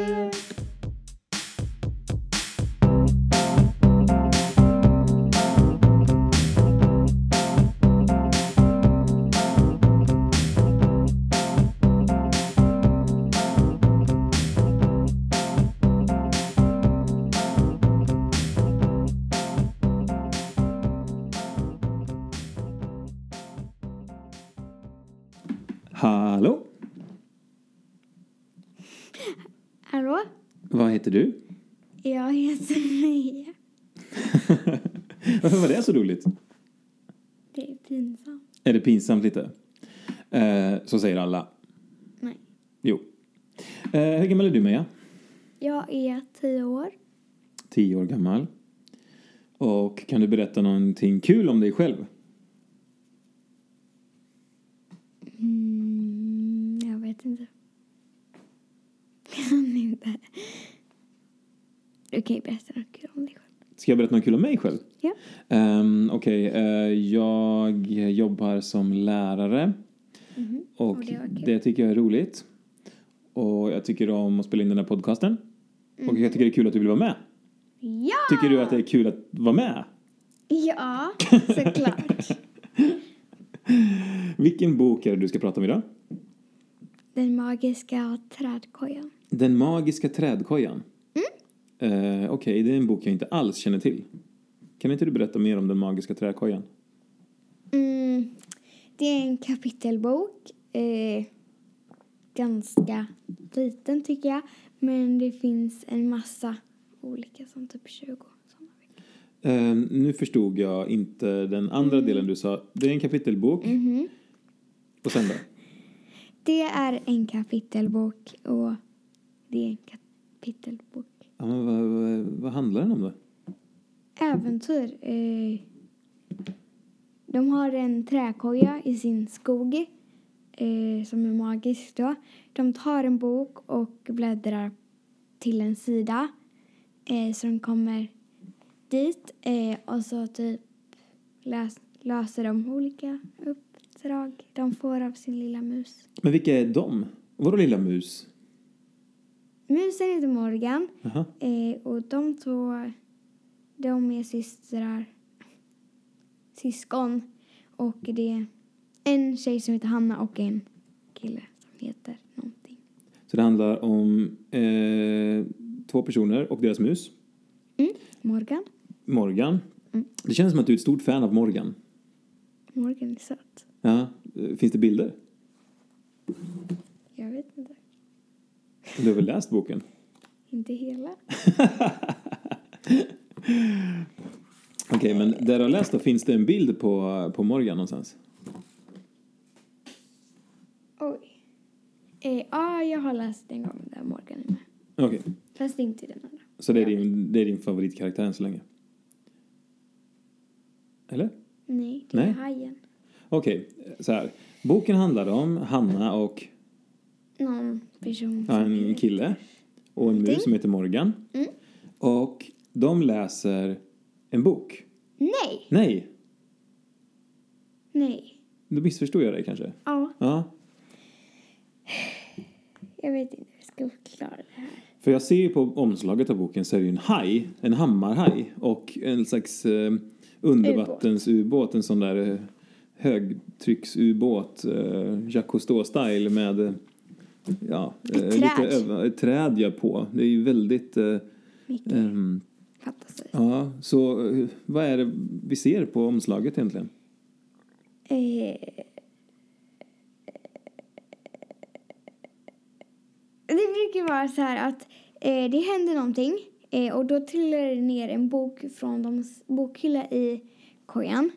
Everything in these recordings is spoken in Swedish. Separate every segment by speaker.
Speaker 1: Du-du-du-du-du-du.
Speaker 2: Hallå!
Speaker 1: Hallå?
Speaker 2: Vad heter du?
Speaker 1: Jag heter Mia.
Speaker 2: Varför var det så roligt?
Speaker 1: Det är pinsamt.
Speaker 2: Är det pinsamt lite? Eh, så säger alla.
Speaker 1: Nej.
Speaker 2: Jo. Eh, hur gammal är du Meja?
Speaker 1: Jag är tio år.
Speaker 2: Tio år gammal. Och kan du berätta någonting kul om dig själv?
Speaker 1: Mm, jag vet inte. Kan inte. Du kan ju berätta något kul om dig själv.
Speaker 2: Ska jag berätta något kul om mig själv?
Speaker 1: Ja.
Speaker 2: Ehm, Okej, eh, jag jobbar som lärare. Och
Speaker 1: Och det var kul.
Speaker 2: det tycker jag är roligt. Och jag tycker om att spela in den här podcasten. Och
Speaker 1: Mm.
Speaker 2: jag tycker det är kul att du vill vara med.
Speaker 1: Ja!
Speaker 2: Tycker du att det är kul att vara med?
Speaker 1: Ja, såklart.
Speaker 2: Vilken bok är det du ska prata om idag?
Speaker 1: Den magiska trädkojan.
Speaker 2: Den magiska trädkojan. Eh, Okej, det är en bok jag inte alls känner till. Kan inte du berätta mer om den magiska trädkojan?
Speaker 1: Mm, det är en kapitelbok. Eh, ganska liten tycker jag. Men det finns en massa olika som typ 20. sådana.
Speaker 2: Eh, nu förstod jag inte den andra delen du sa. Det är en kapitelbok. Och sen då?
Speaker 1: Det är en kapitelbok och det är en kapitelbok.
Speaker 2: Ja, men vad, vad, vad handlar den om då?
Speaker 1: Äventyr. Eh, de har en träkoja i sin skog eh, som är magisk då. De tar en bok och bläddrar till en sida eh, så de kommer dit eh, och så typ läs, löser de olika uppdrag de får av sin lilla mus.
Speaker 2: Men vilka är de? Vadå lilla mus?
Speaker 1: Musen heter Morgan
Speaker 2: Jaha.
Speaker 1: Eh, och de två, de är systrar, syskon. Och det är en tjej som heter Hanna och en kille som heter någonting.
Speaker 2: Så det handlar om eh, två personer och deras mus.
Speaker 1: Morgan.
Speaker 2: Morgan. Det känns som att du är ett stort fan av Morgan.
Speaker 1: Morgan är söt.
Speaker 2: Ja. eh, Finns det bilder?
Speaker 1: Jag vet inte.
Speaker 2: Du har väl läst boken?
Speaker 1: Inte hela.
Speaker 2: Okej, men där du har läst då, finns det en bild på, på Morgan någonstans?
Speaker 1: Oj. Eh, ja, jag har läst en gång där Morgan är med.
Speaker 2: Okej,
Speaker 1: Fast inte i den andra.
Speaker 2: så det är, din, det är din favoritkaraktär än så länge? Eller?
Speaker 1: Nej, det är
Speaker 2: Nej.
Speaker 1: hajen.
Speaker 2: Okej, så här. Boken handlar om Hanna och
Speaker 1: Någon person
Speaker 2: ja, en kille och en mus som heter Morgan. Och de läser en bok.
Speaker 1: Nej!
Speaker 2: Nej,
Speaker 1: Nej.
Speaker 2: då missförstod jag dig kanske.
Speaker 1: Ja,
Speaker 2: Ja,
Speaker 1: jag vet inte hur jag ska förklara det här.
Speaker 2: För jag ser ju på omslaget av boken så är det ju en haj, en hammarhaj och en slags eh, undervattensubåt, en sån där eh, högtrycksubåt, eh, Jacques Cousteau-style med eh, ja, eh, lite
Speaker 1: träd.
Speaker 2: öva, ett träd ja, på. Det är ju väldigt... Eh,
Speaker 1: Mycket
Speaker 2: ehm,
Speaker 1: fantasi.
Speaker 2: ja, så eh, vad är det vi ser på omslaget egentligen?
Speaker 1: Eh, Det brukar vara så här att eh, det händer någonting eh, och då trillar det ner en bok från de s- bokhylla i kojan.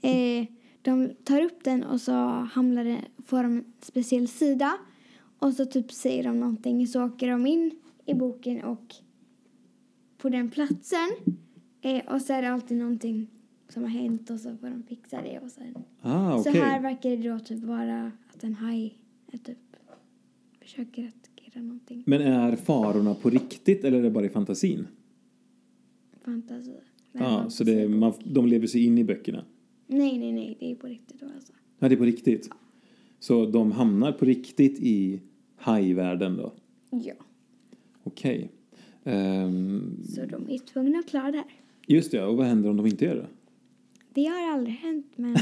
Speaker 1: Eh, de tar upp den och så hamnar den, får de en speciell sida och så typ säger de någonting så åker de in i boken och på den platsen eh, och så är det alltid någonting som har hänt och så får de fixa det och sen
Speaker 2: Ah, okej.
Speaker 1: så här verkar det då typ vara att en haj är typ försöker att greppa någonting.
Speaker 2: Men är farorna på riktigt eller är det bara i fantasin?
Speaker 1: Fantasi. Nej,
Speaker 2: Ja,
Speaker 1: man-
Speaker 2: så det är, man, de lever sig in i böckerna?
Speaker 1: Nej, nej, nej. Det är på riktigt då alltså.
Speaker 2: Ja, det är på riktigt. Så de hamnar på riktigt i hajvärlden då?
Speaker 1: Ja,
Speaker 2: Okej. Ehm,
Speaker 1: så de är tvungna att klara det här.
Speaker 2: just det, och vad händer om de inte gör det?
Speaker 1: Det har aldrig hänt, men...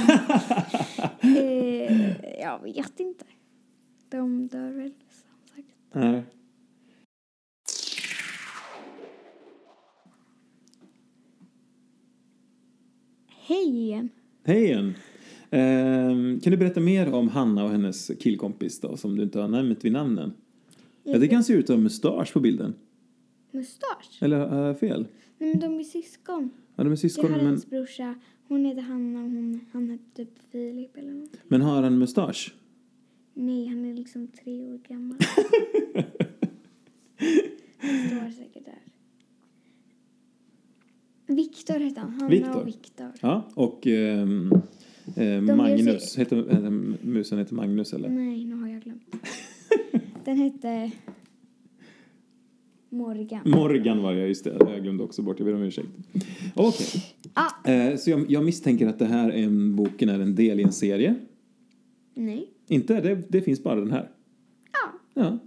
Speaker 1: eh, jag vet inte. De dör väl, som sagt.
Speaker 2: Nej.
Speaker 1: Hej igen.
Speaker 2: Hej igen! Ehm, kan du berätta mer om Hanna och hennes killkompis då, som du inte har nämnt vid namnen? Jag tycker han ser ut att ha mustasch på bilden.
Speaker 1: Mustasch?
Speaker 2: Eller har jag fel?
Speaker 1: Nej, men de är syskon.
Speaker 2: Ja, de är
Speaker 1: Det är
Speaker 2: syskon, men,
Speaker 1: hans brorsa. Hon heter Hanna och hon, han heter typ Filip eller något.
Speaker 2: men har han mustasch?
Speaker 1: Nej, han är liksom tre år gammal. Det står säkert där. Viktor heter han. Hanna
Speaker 2: Viktor.
Speaker 1: och Viktor.
Speaker 2: Ja, och ehm, eh,
Speaker 1: gör
Speaker 2: Magnus.
Speaker 1: sig-
Speaker 2: Heter, eh, musen heter Magnus, eller?
Speaker 1: Nej, nu har jag glömt. Den hette Morgan.
Speaker 2: Morgan var jag, just det. Jag glömde också bort, jag ber om ursäkt. Okej.
Speaker 1: Ah,
Speaker 2: Eh, så jag, jag misstänker att det här är en, boken är en del i en serie.
Speaker 1: nej.
Speaker 2: Inte? Det, det finns bara den här.
Speaker 1: Ja.
Speaker 2: Ja.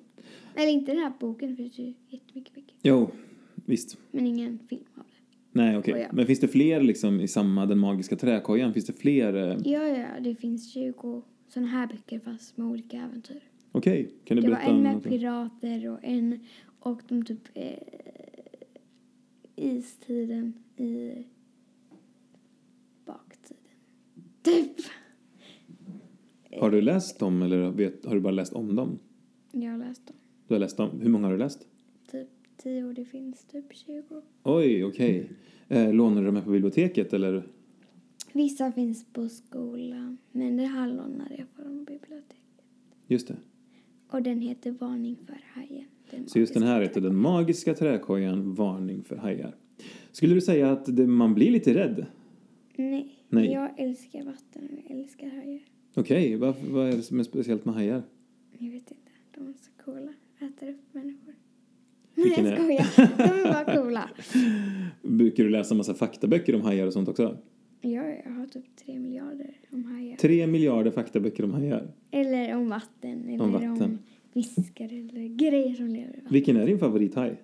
Speaker 1: Eller inte den här boken för det är ju jättemycket böcker.
Speaker 2: Jo, visst.
Speaker 1: Men ingen film av det.
Speaker 2: Nej, okej.
Speaker 1: Och Oh, ja.
Speaker 2: Men finns det fler liksom i samma Den magiska träkojan? Finns det fler? Eh,
Speaker 1: Ja, ja, det finns 20 sådana här böcker fast med olika äventyr.
Speaker 2: okej, kan du
Speaker 1: Det var
Speaker 2: berätta
Speaker 1: en
Speaker 2: om
Speaker 1: med
Speaker 2: något?
Speaker 1: pirater och en och de typ eh, istiden i baktiden. Typ.
Speaker 2: Har du läst dem eller vet, har du bara läst om dem?
Speaker 1: Jag har läst dem.
Speaker 2: Du har läst dem. Hur många har du läst?
Speaker 1: Typ 10 och det finns typ 20.
Speaker 2: Oj, okej.
Speaker 1: Mm.
Speaker 2: Eh, lånar du dem här på biblioteket eller?
Speaker 1: Vissa finns på skolan men det här lånade jag från biblioteket.
Speaker 2: Just det.
Speaker 1: Och den heter Varning för hajen.
Speaker 2: Så just den här heter Den magiska träkojan, varning för hajar. Skulle du säga att det, man blir lite rädd?
Speaker 1: Nej.
Speaker 2: Nej.
Speaker 1: Jag älskar vatten och jag älskar hajar.
Speaker 2: Okej, varför- vad är det som är speciellt med hajar?
Speaker 1: Jag vet inte. De är så coola. Äter upp människor. Nej,
Speaker 2: Vilken
Speaker 1: jag
Speaker 2: är-
Speaker 1: skojar. De är bara coola.
Speaker 2: Brukar du läsa massa faktaböcker om hajar och sånt också?
Speaker 1: Ja, jag har typ tre miljarder om hajar.
Speaker 2: Tre miljarder faktaböcker om hajar.
Speaker 1: Eller om vatten. Eller
Speaker 2: Om
Speaker 1: om,
Speaker 2: vatten.
Speaker 1: fiskar eller grejer som lever i vatten.
Speaker 2: Vilken är din favorithaj?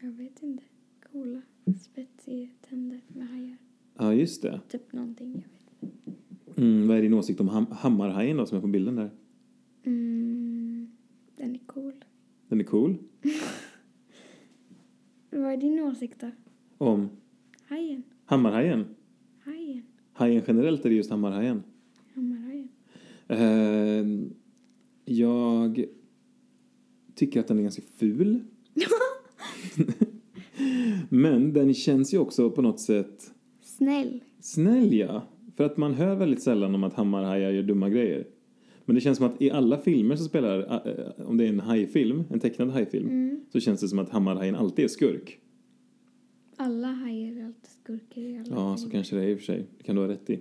Speaker 1: Jag vet inte. Coola, spetsiga tänder med hajar.
Speaker 2: Ja, just det.
Speaker 1: Typ någonting, jag vet.
Speaker 2: Mm, vad är din åsikt om ham- hammarhajen då, som är på bilden där?
Speaker 1: Mm, den är cool.
Speaker 2: Den är cool.
Speaker 1: Vad är din åsikt då?
Speaker 2: Om
Speaker 1: Hajen?
Speaker 2: hammarhajen?
Speaker 1: Hajen?
Speaker 2: Hajen generellt är det just hammarhajen.
Speaker 1: Hammarhajen?
Speaker 2: Eh, jag tycker att den är ganska ful. Men den känns ju också på något sätt
Speaker 1: Snäll.
Speaker 2: snäll, ja. För att man hör väldigt sällan om att hammarhajar gör dumma grejer. Men det känns som att i alla filmer som spelar, eh, om det är en hajfilm, en tecknad hajfilm,
Speaker 1: Mm.
Speaker 2: så känns det som att hammarhajen alltid är skurk.
Speaker 1: Alla hajar är alltid skurkar i alla
Speaker 2: Ja,
Speaker 1: filmer.
Speaker 2: så kanske det är i och för sig. Det kan du ha rätt i.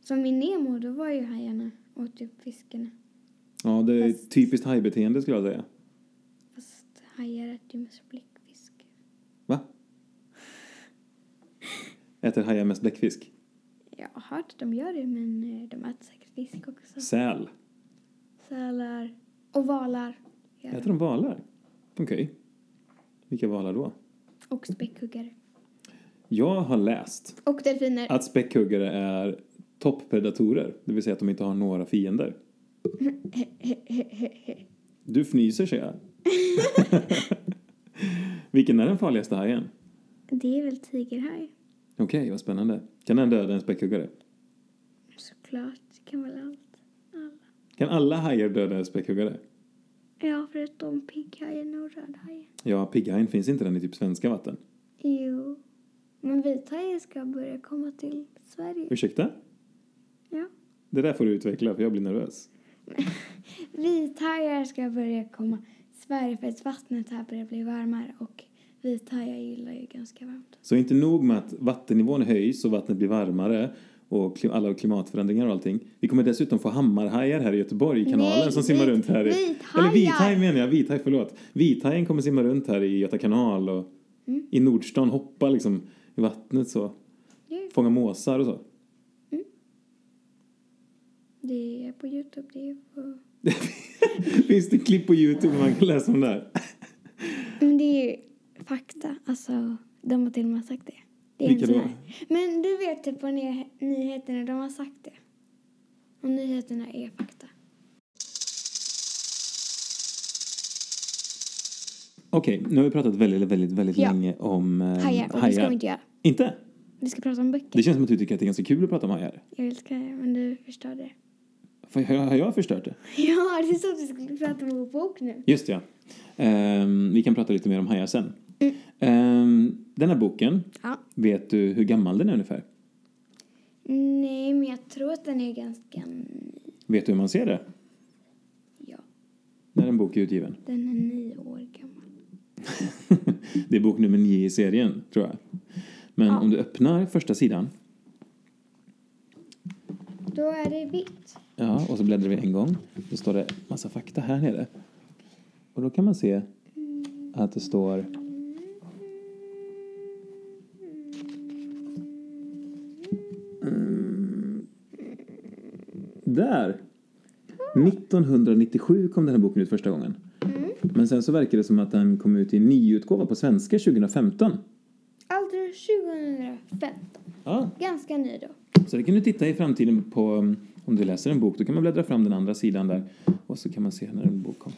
Speaker 1: Som i Nemo, då var ju hajarna åt upp fiskarna.
Speaker 2: Ja, det är
Speaker 1: Fast-
Speaker 2: typiskt hajbeteende skulle jag säga.
Speaker 1: Fast hajar äter ju mest bläckfisk.
Speaker 2: Va? Äter hajar mest bläckfisk?
Speaker 1: Jag har hört att de gör det, men eh, de äter säkert fisk också.
Speaker 2: Säl?
Speaker 1: Sälar och valar. gör
Speaker 2: Äter
Speaker 1: de.
Speaker 2: de valar? Okej. Vilka valar då?
Speaker 1: Och späckhuggare.
Speaker 2: Jag har läst
Speaker 1: Och delfiner.
Speaker 2: att späckhuggare är topppredatorer, det vill säga att de inte har några fiender. Du fnyser, säger jag. Vilken är den farligaste hajen?
Speaker 1: Det är väl tigerhaj?
Speaker 2: Okej, vad spännande. Kan den döda en späckhuggare?
Speaker 1: Såklart, det kan väl allt. Alla.
Speaker 2: Kan alla hajar döda en späckhuggare?
Speaker 1: Ja, förutom pigghajen och rödhajen.
Speaker 2: Ja, pigghajen finns inte den i typ svenska vatten.
Speaker 1: Jo. Men vithajen ska börja komma till Sverige.
Speaker 2: Ursäkta?
Speaker 1: Ja.
Speaker 2: Det där får du utveckla, för jag blir nervös.
Speaker 1: Vithajar ska börja komma till Sverige för att vattnet här börjar bli varmare och vithajar gillar ju ganska varmt.
Speaker 2: Så inte nog med att vattennivån höjs och vattnet blir varmare och kli- alla klimatförändringar och allting. Vi kommer dessutom få hammarhajar här i Göteborg, i kanalen
Speaker 1: Nej,
Speaker 2: som simmar
Speaker 1: vit-
Speaker 2: runt här. I,
Speaker 1: vithajar!
Speaker 2: Eller vithaj menar jag, vithaj, förlåt. Vithajen kommer simma runt här i Göta kanal och
Speaker 1: Mm.
Speaker 2: i Nordstan, hoppa liksom i vattnet så.
Speaker 1: Ja.
Speaker 2: Fånga måsar och så.
Speaker 1: Det är på Youtube. Det är på...
Speaker 2: Finns det klipp på Youtube man kan läsa om det här?
Speaker 1: Men det är ju fakta. Alltså, de har till och med sagt det. det är
Speaker 2: Vilka
Speaker 1: inte
Speaker 2: då?
Speaker 1: nej. Men du vet typ på ny- nyheterna, de har sagt det. Och nyheterna är fakta.
Speaker 2: Okej, nu har vi pratat väldigt, väldigt, väldigt
Speaker 1: Ja.
Speaker 2: länge om eh,
Speaker 1: Hajar, och det ska vi inte göra.
Speaker 2: Inte?
Speaker 1: Vi ska prata om böcker.
Speaker 2: Det känns som att du tycker att det är ganska kul att prata om hajar.
Speaker 1: Jag älskar det, men du förstår det.
Speaker 2: För har jag- har jag förstört det?
Speaker 1: Ja, det är så att vi skulle prata om vår bok nu.
Speaker 2: Just det, ja. Ehm, vi kan prata lite mer om hajar sen. Ehm, den här boken,
Speaker 1: Ja.
Speaker 2: vet du hur gammal den är ungefär?
Speaker 1: Nej, men jag tror att den är ganska ny.
Speaker 2: Vet du hur man ser det?
Speaker 1: Ja,
Speaker 2: När en bok är utgiven?
Speaker 1: den är nio år gammal.
Speaker 2: det är bok nummer nio i serien, tror jag. Men om du öppnar första sidan,
Speaker 1: Då är det vitt.
Speaker 2: ja, och så bläddrar vi en gång, då står det massa fakta här nere. Och då kan man se att det står... Mm. Där! 1997 kom den här boken ut första gången. Men sen så verkar det som att den kom ut i nyutgåva på svenska 2015.
Speaker 1: Alltså 2015.
Speaker 2: Ja,
Speaker 1: Ganska ny då.
Speaker 2: Så det kan du titta i framtiden på, um, om du läser en bok, då kan man bläddra fram den andra sidan där och så kan man se när en bok kom.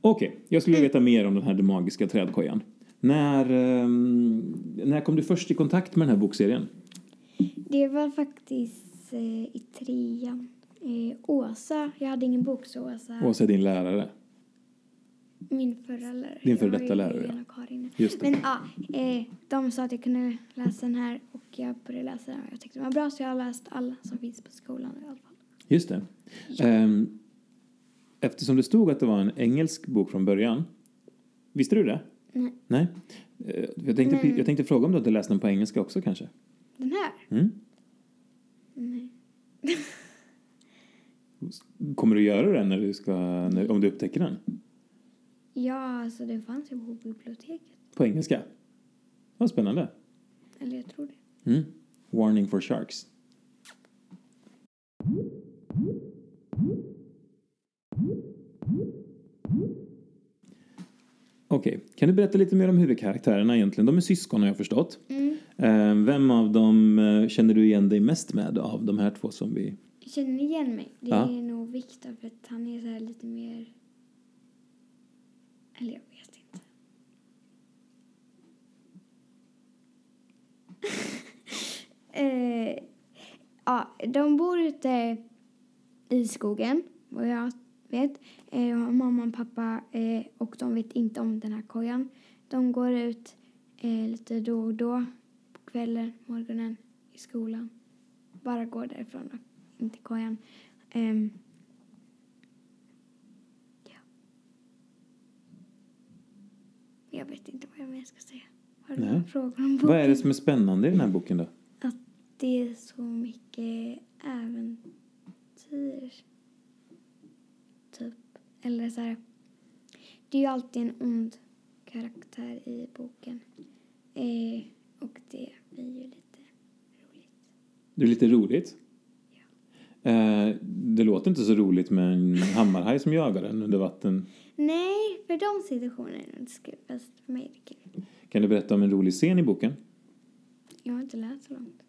Speaker 2: Okej, jag skulle vilja veta mer om den här Den magiska trädkojan. När, um, när kom du först i kontakt med den här bokserien?
Speaker 1: Det var faktiskt eh, i trean. Eh, Åsa, jag hade ingen bok så Åsa,
Speaker 2: Åsa är din lärare.
Speaker 1: min förra lärare.
Speaker 2: Din före
Speaker 1: Jag har
Speaker 2: detta
Speaker 1: ju
Speaker 2: lärare,
Speaker 1: Helena
Speaker 2: ja.
Speaker 1: och Karin nu.
Speaker 2: Just det.
Speaker 1: Men ja, eh, de sa att jag kunde läsa den här och jag började läsa den och jag tyckte den var bra så jag har läst alla som finns på skolan i alla fall.
Speaker 2: Just det. Ehm, eftersom det stod att det var en engelsk bok från början, visste du det?
Speaker 1: Nej,
Speaker 2: Nej. Eh, jag, tänkte,
Speaker 1: Men-
Speaker 2: jag tänkte fråga om du hade läst den på engelska också kanske?
Speaker 1: den här?
Speaker 2: Mm?
Speaker 1: Nej.
Speaker 2: Kommer du göra det när du ska, när, om du upptäcker den?
Speaker 1: Ja, alltså den fanns ju på biblioteket.
Speaker 2: På engelska? Vad spännande.
Speaker 1: Eller jag tror det.
Speaker 2: Mm. Warning for sharks. Okej, kan du berätta lite mer om huvudkaraktärerna egentligen? De är syskon har jag förstått.
Speaker 1: Mm.
Speaker 2: Eh, Vem av dem eh, känner du igen dig mest med av de här två som vi...
Speaker 1: Jag känner ni igen mig? Det
Speaker 2: Ja.
Speaker 1: är nog Viktor för att han är så här lite mer... Eller jag vet inte. eh, ja, de bor ute i skogen, vad jag vet. Eh, jag har mamma och pappa eh, och de vet inte om den här kojan. De går ut eh, lite då och då, på kvällen, morgonen, i skolan. Bara går därifrån och inte kojan. Ehm, ja. Jag vet inte vad jag mer ska säga. Har du
Speaker 2: Nej.
Speaker 1: några frågor om boken?
Speaker 2: Vad är det som är spännande i den här boken då?
Speaker 1: att det är så mycket äventyr. Typ. Eller så här. Det är ju alltid en ond karaktär i boken. Eh, och det blir ju lite roligt.
Speaker 2: Det är lite roligt. Eh, Det låter inte så roligt med en hammarhaj som jagar en under vatten.
Speaker 1: Nej, för de situationerna är det inte så kul. Fast för mig är det kul.
Speaker 2: Kan du berätta om en rolig scen i boken?
Speaker 1: Jag har inte läst så långt.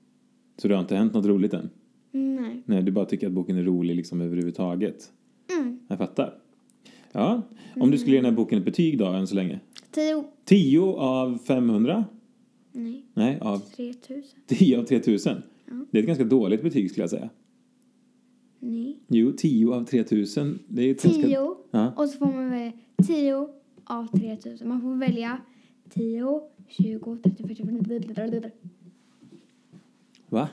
Speaker 2: Så det har inte hänt något roligt än?
Speaker 1: Nej.
Speaker 2: Nej, du bara tycker att boken är rolig liksom överhuvudtaget.
Speaker 1: Mm.
Speaker 2: Jag fattar. Ja, om du skulle ge den här boken ett betyg då än så länge?
Speaker 1: Tio.
Speaker 2: 10 av 500?
Speaker 1: Nej,
Speaker 2: Nej, av
Speaker 1: 3000.
Speaker 2: 10 av 3000. Det är ett ganska dåligt betyg skulle jag säga.
Speaker 1: Nej.
Speaker 2: Jo, 10 av 3000. Det är ett ganska...
Speaker 1: Tio.
Speaker 2: Ja.
Speaker 1: Och så får man välja 10 av 3000. Man får välja 10, 20, 30, 40, 40.
Speaker 2: Va?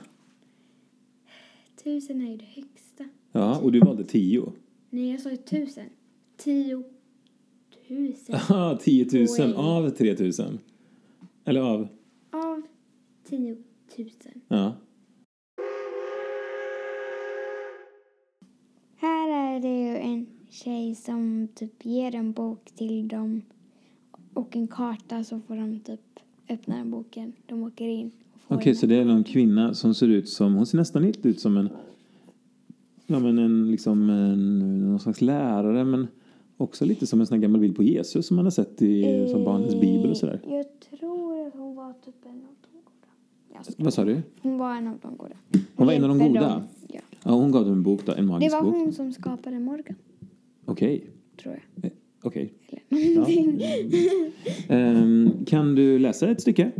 Speaker 1: 1000 är ju det högsta.
Speaker 2: Ja, och du valde 10.
Speaker 1: Nej, jag sa ju 1000. 10 tusen
Speaker 2: Aha, 10 000
Speaker 1: Poäng.
Speaker 2: Ah, av 3000. Eller av...
Speaker 1: av 10 tusen.
Speaker 2: Ja.
Speaker 1: Här är det ju en tjej som typ ger en bok till dem och en karta så får de typ öppna den boken. De åker in och får
Speaker 2: Okej, så det är någon kvinna som ser ut som... Hon ser nästan lite ut som en ja, men en, liksom en, någon slags lärare men också lite som en sån här gammal bild på Jesus som man har sett i som barnens bibel och sådär.
Speaker 1: Eh, Jag tror att hon var typ en av de goda. Ja, så-
Speaker 2: Vad sa du?
Speaker 1: Hon var en av de goda.
Speaker 2: Hon var en av de
Speaker 1: Hjälper
Speaker 2: goda?
Speaker 1: dem. Ja.
Speaker 2: Ja, hon gav dem en bok då, en
Speaker 1: Det
Speaker 2: magisk
Speaker 1: var
Speaker 2: bok.
Speaker 1: hon som skapade Morgan,
Speaker 2: Okej.
Speaker 1: tror jag.
Speaker 2: Eh, Okej.
Speaker 1: Eller
Speaker 2: Ja.
Speaker 1: någonting.
Speaker 2: Ehm, kan du läsa ett stycke?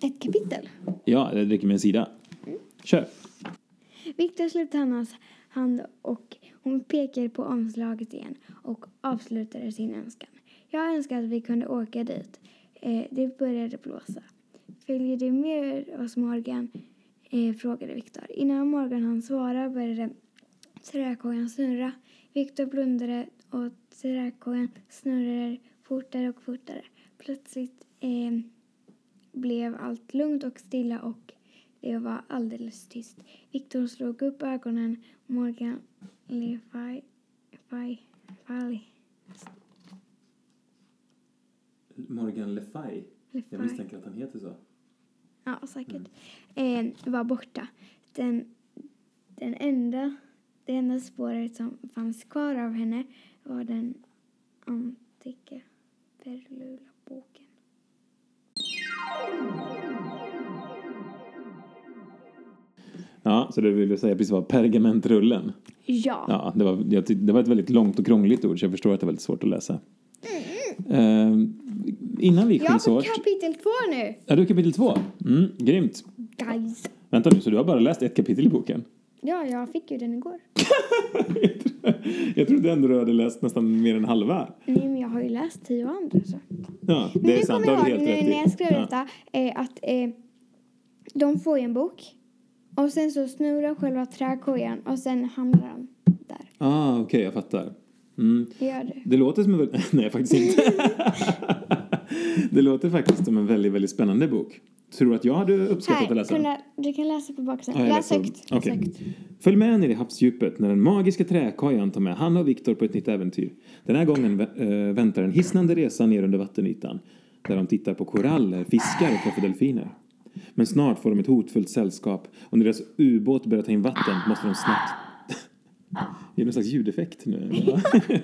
Speaker 1: Ett kapitel.
Speaker 2: Ja, det räcker med en sida.
Speaker 1: Mm.
Speaker 2: Kör.
Speaker 1: Viktor släppte Hannas hand och hon pekade på omslaget igen och avslutade sin önskan. Jag önskar att vi kunde åka dit. Eh, det började blåsa. Följer du med oss Morgan? Eh, frågade Viktor. Innan Morgan hann svara började träkojan snurra. Viktor blundade och träkojan snurrade fortare och fortare. Plötsligt eh, blev allt lugnt och stilla och det var alldeles tyst. Viktor slog upp ögonen. Morgan Lefaj... Faj... Faj...
Speaker 2: Morgan Le Fay.
Speaker 1: Lefaj...
Speaker 2: att han heter så.
Speaker 1: Ja, säkert. Eh, var borta. Den, den enda, det enda spåret som fanns kvar av henne var den antika Perlula-boken.
Speaker 2: Ja, så det vill jag säga precis var pergamentrullen.
Speaker 1: Ja.
Speaker 2: Ja, det var, jag, tyck- det var ett väldigt långt och krångligt ord så jag förstår att det är väldigt svårt att läsa. Ehm, innan vi
Speaker 1: Jag har
Speaker 2: skiljs
Speaker 1: fått
Speaker 2: åt...
Speaker 1: kapitel två nu,
Speaker 2: Ja, du är kapitel två. Mm, grymt.
Speaker 1: guys.
Speaker 2: Vänta nu, så du har bara läst ett kapitel i boken?
Speaker 1: Ja, jag fick ju den igår.
Speaker 2: Jag trodde ändå du hade läst nästan mer än halva.
Speaker 1: Nej, men jag har ju läst tio andra så.
Speaker 2: Ja,
Speaker 1: Men
Speaker 2: det är
Speaker 1: nu
Speaker 2: sant.
Speaker 1: kommer
Speaker 2: Det har
Speaker 1: jag
Speaker 2: du
Speaker 1: ihåg
Speaker 2: helt rätt
Speaker 1: nu
Speaker 2: i.
Speaker 1: när jag skrev
Speaker 2: Ja.
Speaker 1: detta eh, att eh, de får ju en bok och sen så snurrar själva träkojan och sen hamnar de där.
Speaker 2: Ah, okej, jag fattar. Mm.
Speaker 1: Det gör det.
Speaker 2: Det låter som en... väl- Nej, faktiskt inte. det låter faktiskt som en väldigt, väldigt spännande bok. Tror du att jag hade uppskattat
Speaker 1: Här,
Speaker 2: att läsa den?
Speaker 1: kunna, du kan läsa på baksidan.
Speaker 2: Ja, jag
Speaker 1: Läs
Speaker 2: läser.
Speaker 1: högt.
Speaker 2: Okej.
Speaker 1: läs högt.
Speaker 2: Följ med ner i havsdjupet när den magiska träkojan tar med Hanna och Viktor på ett nytt äventyr. Den här gången vä- eh, väntar en hisnande resa ner under vattenytan där de tittar på koraller, fiskar och träffar delfiner. Men snart får de ett hotfullt sällskap och när deras ubåt börjar ta in vatten måste de snabbt... Det är någon slags ljudeffekt nu.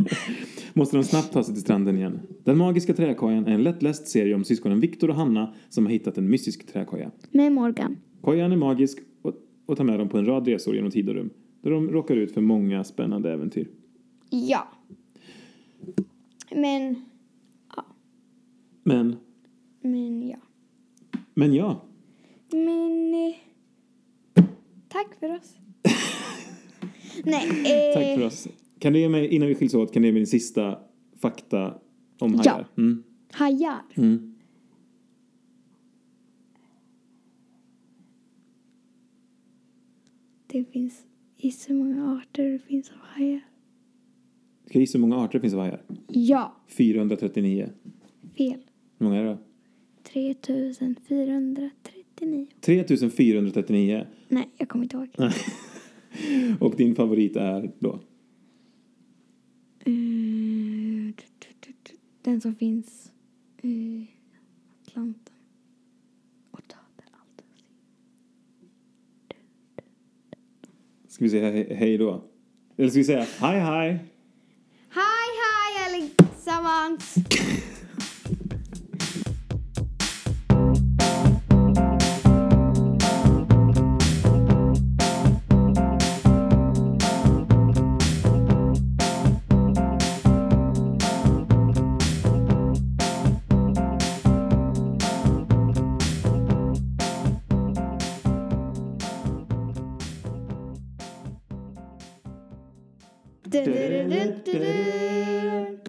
Speaker 2: måste de snabbt ta sig till stranden igen. Den magiska träkojan är en lättläst serie om syskonen Viktor och Hanna som har hittat en mystisk träkoja.
Speaker 1: Med Morgan.
Speaker 2: Kojan är magisk och, och tar med dem på en rad resor genom tid och rum. Där de råkar ut för många spännande äventyr.
Speaker 1: Ja. Men,
Speaker 2: Men,
Speaker 1: men ja.
Speaker 2: men ja.
Speaker 1: Men eh, tack för oss. Nej. Eh,
Speaker 2: Tack för oss. Kan du ge mig, innan vi skiljs åt, kan du ge mig din sista fakta om
Speaker 1: Ja.
Speaker 2: hajar? Mm.
Speaker 1: Hajar.
Speaker 2: Mm.
Speaker 1: Det finns i så många arter det finns av hajar.
Speaker 2: Ska jag gissa hur många arter det finns av hajar?
Speaker 1: Ja,
Speaker 2: 439.
Speaker 1: fel.
Speaker 2: Hur många är det då?
Speaker 1: 3439.
Speaker 2: 3439.
Speaker 1: Nej, jag kommer inte ihåg.
Speaker 2: Och din favorit är då?
Speaker 1: Eh, tu, tu, tu, tu. Den som finns i Atlanten. Och dödar allt.
Speaker 2: Ska vi säga he- hej då? Eller ska vi säga hej hej?
Speaker 1: Hej, hej allesammans! Du, du, du, du, du, du.